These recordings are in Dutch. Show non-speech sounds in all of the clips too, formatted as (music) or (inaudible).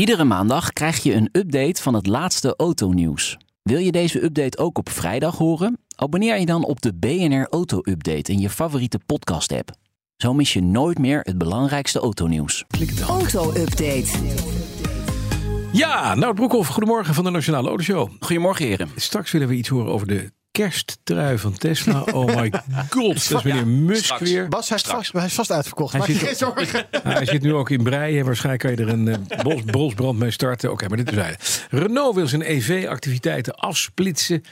Iedere maandag krijg je een update van het laatste autonieuws. Wil je deze update ook op vrijdag horen? Abonneer je dan op de BNR Auto Update in je favoriete podcast-app. Zo mis je nooit meer het belangrijkste autonieuws. Auto-update. Ja, Nout Broekhoff, goedemorgen van de Nationale Auto Show. Goedemorgen, heren. Straks willen we iets horen over de kersttrui van Tesla. Oh (laughs) my god, dat is meneer Musk straks. weer. Bas, hij is, vast, hij is vast uitverkocht. Hij Maak je zit geen zorgen. Hij zit nu ook in breien. Waarschijnlijk kan je er een eh, bos, bosbrand mee starten. Oké, maar dit is hij. Renault wil zijn EV-activiteiten afsplitsen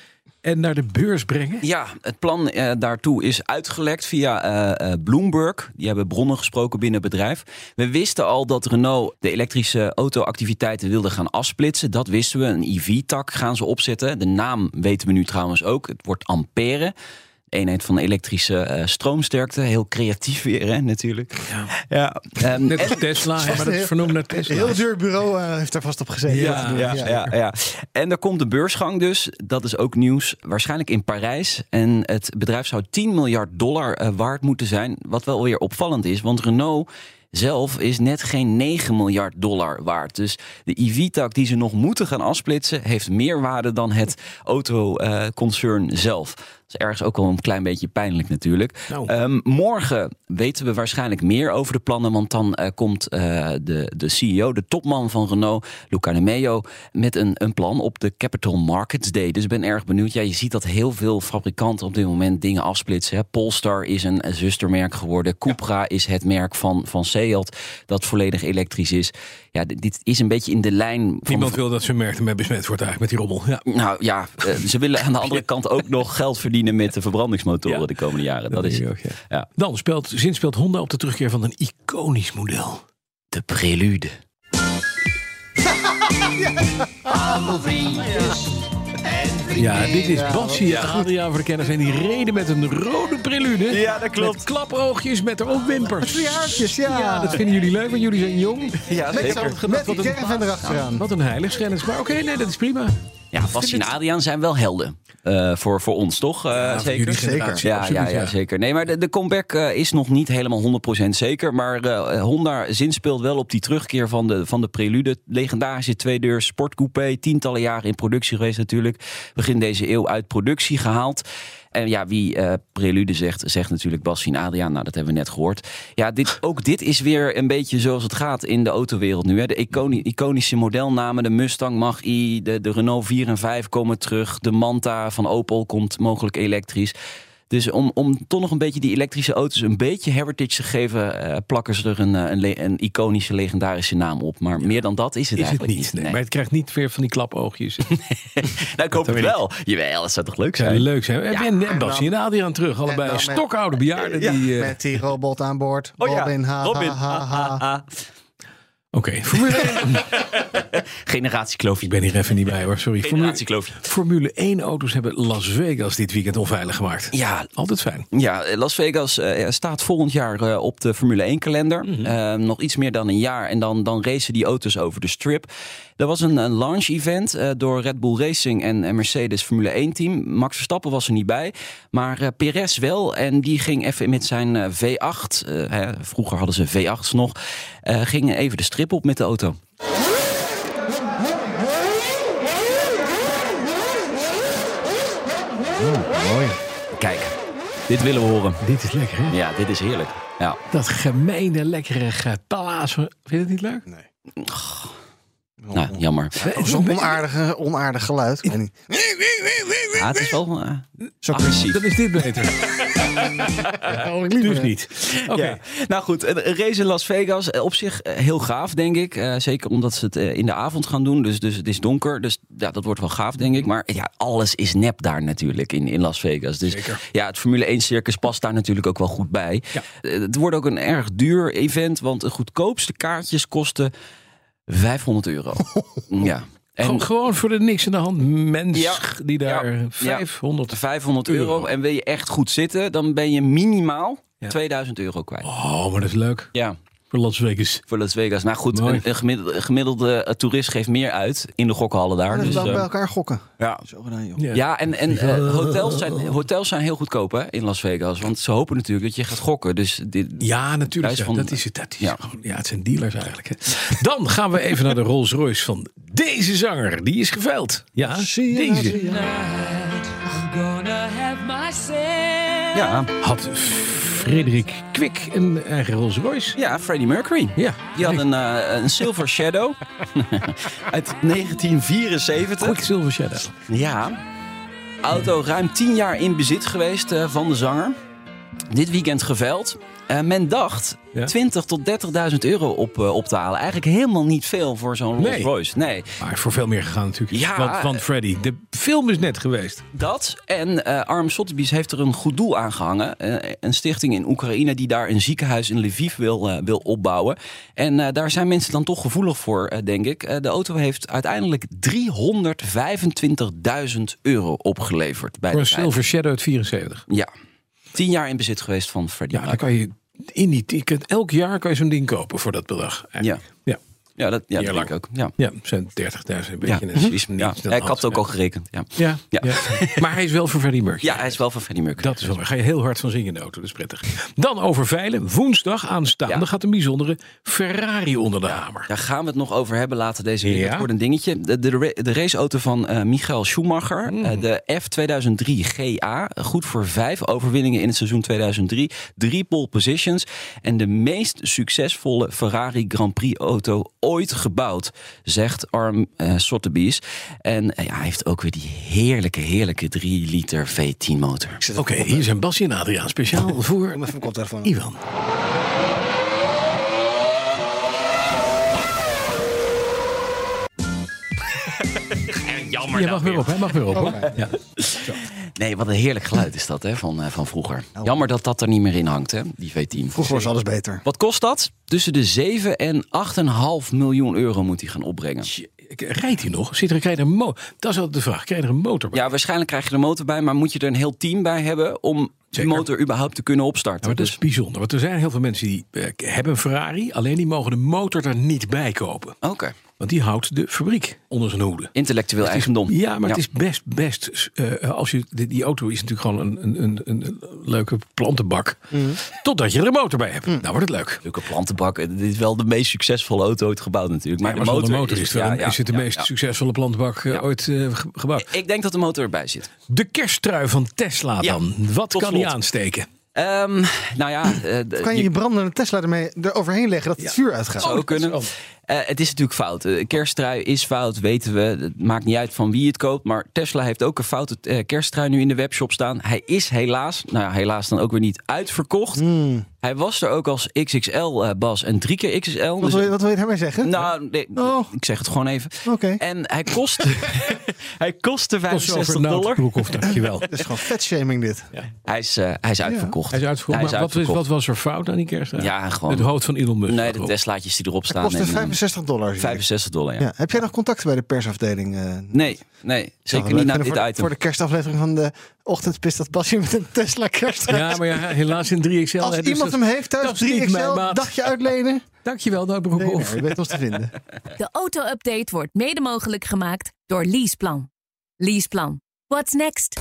en naar de beurs brengen. Ja, het plan eh, daartoe is uitgelekt via eh, eh, Bloomberg. Die hebben bronnen gesproken binnen het bedrijf. We wisten al dat Renault de elektrische autoactiviteiten wilde gaan afsplitsen. Dat wisten we. Een EV-tak gaan ze opzetten. De naam weten we nu trouwens ook. Het wordt Ampère. Eenheid van elektrische eh, stroomsterkte. Heel creatief weer, hè, natuurlijk. Ja. ehm, Net en- als (laughs) Tesla, hè, maar dat is vernoemd naar Tesla. Heel duur bureau eh, heeft daar vast op gezeten. Ja, ja, ja, ja. En er komt de beursgang dus. Dat is ook nieuws. Waarschijnlijk in Parijs. En het bedrijf zou 10 miljard dollar eh, waard moeten zijn. Wat wel weer opvallend is. Want Renault zelf is net geen 9 miljard dollar waard. Dus de EV-tak die ze nog moeten gaan afsplitsen... heeft meer waarde dan het autoconcern eh, zelf. Dat is ergens ook wel een klein beetje pijnlijk natuurlijk. Nou. Ehm, morgen weten we waarschijnlijk meer over de plannen. Want dan eh, komt eh, de, de CEO, de topman van Renault, Luca de Meo, met een, een plan op de Capital Markets Day. Dus ik ben erg benieuwd. Ja, je ziet dat heel veel fabrikanten op dit moment dingen afsplitsen. Hè. Polestar is een eh, zustermerk geworden. Cupra is het merk van, van Seat dat volledig elektrisch is. Ja, dit- dit is een beetje in de lijn van... Niemand wil dat zijn merk ermee besmet wordt eigenlijk met die rommel. Ja. Nou ja, eh, ze willen aan de (laughs) andere kant ook nog geld verdienen met de verbrandingsmotoren Ja. de komende jaren. Dat, is denk ik ook, ja. ja. Dan speelt, zin speelt Honda op de terugkeer van een iconisch model. de prelude. Ja, dit is Bassi en Adriaan voor de kennis. En die reden met een rode prelude. Ja, dat klopt. Met klapoogjes, met erop wimpers. Twee haartjes, ja. dat vinden jullie leuk, want jullie zijn (laughs) jong. Ja, met zo'n met die caravan erachteraan. Wat een heiligschennis. Maar oké, nee, dat is prima. Ja, Bas en Adriaan zijn wel helden. Eh, voor, voor ons, toch? Eh, voor zeker. jullie generatie, Ja, absoluut, ja, ja, ja. zeker. Nee, maar de, de comeback eh, is nog niet helemaal 100% zeker. Maar eh, Honda zinspeelt wel op die terugkeer van de, van de Prelude. Legendarische tweedeur sportcoupé. Tientallen jaren in productie geweest natuurlijk. Begin deze eeuw uit productie gehaald. En ja, wie eh, Prelude zegt, zegt natuurlijk Bas en Adriaan. Nou, dat hebben we net gehoord. Ja, dit, ook dit is weer een beetje zoals het gaat in de autowereld nu. Hè. De iconi- iconische modelnamen, de Mustang Mach-E, de, de Renault 4 en 5 komen terug. De Manta van Opel komt mogelijk elektrisch. Dus om, om toch nog een beetje die elektrische auto's een beetje heritage te geven, eh, plakken ze er een, eh, een, le- een iconische, legendarische naam op. Maar meer dan dat is het Is het eigenlijk niet. Nee. Nee. Maar het krijgt niet weer van die klapoogjes. nou, ik dat hoop het weet wel. Jawel, dat zou toch leuk Zou zijn? leuk zijn. en, en en Bassi en dan- Adriaan terug. Allebei dan met- stokoude bejaarden. Ja, die, eh, met die robot aan boord. Oh ja, Robin, ha, Robin, ah. ha, ha, ha. Oké, Formule 1. (laughs) Generatiekloof. Ik ben hier even niet bij hoor, sorry. Formule, Generatiekloof. Formule 1 auto's hebben Las Vegas dit weekend onveilig gemaakt. Ja, Altijd fijn. Ja, Las Vegas eh, staat volgend jaar eh, op de Formule 1-kalender. nog iets meer dan een jaar. En dan, dan racen die auto's over de strip. Er was een, een launch-event eh, door Red Bull Racing en en Mercedes Formule 1-team. Max Verstappen was er niet bij, maar eh, Perez wel. En die ging even met zijn eh, V8, eh, hè, vroeger hadden ze V8's nog, eh, ging even de strip op met de auto. Mooi. Kijk, dit willen we horen. Dit is lekker hè? Ja, dit is heerlijk. Ja. Dat gemene, lekkere getalas. Vind je dat niet leuk? Nou, jammer. Zo'n onaardige, onaardig geluid. Ik weet niet. Ja, het is wel eh, Zo agressief. Dan is dit (laughs) beter. Ja, dus niet. Oké. (laughs) Ja. Nou goed, een race in Las Vegas. eh, Op zich eh, heel gaaf, denk ik. Eh, zeker omdat ze het eh, in de avond gaan doen. Dus, dus het is donker. Dus ja, dat wordt wel gaaf, denk ik. Maar ja, alles is nep daar natuurlijk in, in Las Vegas. Dus ja, het Formule 1 circus past daar natuurlijk ook wel goed bij. Ja. Eh, Het wordt ook een erg duur event. Want de goedkoopste kaartjes kosten 500 (laughs) euro. ja. Gewoon- gewoon voor de niks in de hand mens Ja. die daar Ja. 500... 500 euro. Euro. En wil je echt goed zitten, dan ben je minimaal Ja. 2000 euro kwijt. Oh, maar dat is leuk. Ja, Voor Las Vegas. voor Las Vegas. Nou goed, Mooi. een, een gemiddelde, een gemiddelde eh, toerist geeft meer uit in de gokhallen daar. Dus Dus, dan eh, bij elkaar gokken. ja. Zo gedaan, joh. Ja. ja, en, en eh, hotels, zijn, hotels zijn heel goedkoop hè, in Las Vegas. Want ze hopen natuurlijk dat je gaat gokken. Dus dit, Ja, natuurlijk. Thuis ja. van- dat is het. Dat is Ja. gewoon- ja, het zijn dealers eigenlijk. Hè. Dan gaan we even naar de Rolls Royce van deze zanger. Die is geveild. Ja, deze. ja. Had Frederik Kwik een eigen Rolls Royce? ja, Freddie Mercury. Ja. Die had een, eh, een Silver Shadow (laughs) uit 1974. Quick Silver Shadow. Ja. Auto ruim 10 jaar in bezit geweest eh, van de zanger. Dit weekend geveild. Eh, men dacht Ja. 20 tot 30.000 euro op, eh, op te halen. Eigenlijk helemaal niet veel voor zo'n Rolls Nee. Royce. Nee, Maar voor veel meer gegaan natuurlijk. Ja. Want van Freddy. De film is net geweest. dat. En eh Arm Sotheby's heeft er een goed doel aan gehangen. Eh, een stichting in Oekraïne die daar een ziekenhuis in Lviv wil, eh, wil opbouwen. En eh, daar zijn mensen dan toch gevoelig voor, eh, denk ik. Eh, de auto heeft uiteindelijk 325.000 euro opgeleverd. Bij Voor de een veiling. Silver Shadow uit 74. Ja. Tien jaar in bezit geweest van Freddie. Ja, Ja, dan kan je in die ticket. Elk jaar kan je zo'n ding kopen voor dat bedrag. ja. Ja. ja dat, ja, dat Heerlijk. denk ik ook. Ja. Ja, het zijn 30.000. Een beetje Ja, net precies. niets Ja. dan Ik had had. het ook al gerekend. Ja. Ja, Ja. ja. (laughs) maar hij is wel voor Freddie Mercury. ja, hij is wel van Freddie Mercury. Dat is wel, waar. ga je heel hard van zingen in de auto, dat is prettig. Dan over veilen. Woensdag aanstaande Ja. gaat een bijzondere Ferrari onder de hamer. Daar gaan we het nog over hebben later deze week. Ja. Het wordt een dingetje. De, de, ra- de raceauto van eh, Michael Schumacher, Hmm. eh, de F2003 GA. Goed voor vijf overwinningen in het seizoen 2003. Drie pole positions. En de meest succesvolle Ferrari Grand Prix auto ooit gebouwd, zegt Arm eh, Sotheby's. En eh, ja, hij heeft ook weer die heerlijke, heerlijke 3 liter V10 motor. Oké, hier zijn Basje en Adriaan speciaal (laughs) voor Even mijn koptelefoon. Ivan. Jammer Je mag weer op, hij mag weer op. hoor. Ja. Nee, wat een heerlijk geluid is dat hè, van, eh, van vroeger. Oh. Jammer dat dat er niet meer in hangt, hè, die V10. Vroeger was alles beter. Wat kost dat? Tussen de 7 en 8,5 miljoen euro moet hij gaan opbrengen. Rijdt hij nog? Zit er, krijg je er een mo- dat is altijd de vraag. Krijg je er een motor bij? Ja, waarschijnlijk krijg je de motor bij, maar moet je er een heel team bij hebben om die Zeker. motor überhaupt te kunnen opstarten. Ja, maar dat is bijzonder, want er zijn heel veel mensen die eh, hebben een Ferrari, alleen die mogen de motor er niet bij kopen. Dus- Oké, Want die houdt de fabriek onder zijn hoede. intellectueel eigendom. Ja, maar het is best, best. eh, als je, die, die auto is natuurlijk gewoon een, een, een, een leuke plantenbak. Mhm. Totdat je er een motor bij hebt. Nou wordt het leuk. Leuke plantenbak. Dit is wel de meest succesvolle auto ooit gebouwd natuurlijk. Maar, Maar de zonder motor, motor is het, wel ja, een- ja, is het de ja, meest ja. succesvolle plantenbak eh, ooit eh, ge- gebouwd. Ik denk dat de motor erbij zit. De kersttrui van Tesla Ja, dan. Wat tot kan die slot. aansteken? Ehm, nou ja, eh, d- Kan je je- Oh. je brandende Tesla ermee eroverheen leggen Oh, dat het vuur uitgaat? zou ook kunnen. Eh, het is natuurlijk fout. Eh, kersttrui is fout, weten we. Het maakt niet uit van wie het koopt. Maar Tesla heeft ook een foute eh, kersttrui nu in de webshop staan. Hij is helaas, nou ja, helaas dan ook weer niet uitverkocht. Hmm. Hij was er ook als XXL, eh, Bas. En drie keer XXL. Wat Dus- wil je, wat wil je daarmee zeggen? nou, nee, Oh. ik zeg het gewoon even. Oké. En hij kostte, hij kostte Kost je over 65 een dollar. Notenbroekhoff, (laughs) dankjewel. Het is gewoon vetshaming dit. Hij is, eh, hij is uitverkocht. Hij is uitverkocht. Hij is maar wat, is, uitverkocht. wat was er fout aan die kersttrui? Ja, gewoon- Het hoofd van Elon Musk. Nee, de dus erop. Teslaatjes die erop staan. Kostte en, eh, 65 dollar. zie ik. 65 dollar, ja. Ja. Heb jij nog contacten bij de persafdeling? eh? Nee, nee, Zou Nou, zeker het niet leuk na vinden dit voor, de- item. Voor de kerstaflevering van de ochtend pist dat Basje met een Tesla kerst. Ja, maar ja, helaas in 3XL. Als hè, dus iemand dat- hem heeft dat is thuis, niet 3XL, mijn maat. dagje (laughs) uitlenen. Dankjewel, Nee, Notenbroekhoff. nou, je weet ons te vinden. De auto-update wordt mede mogelijk gemaakt door Leaseplan. Leaseplan. What's next?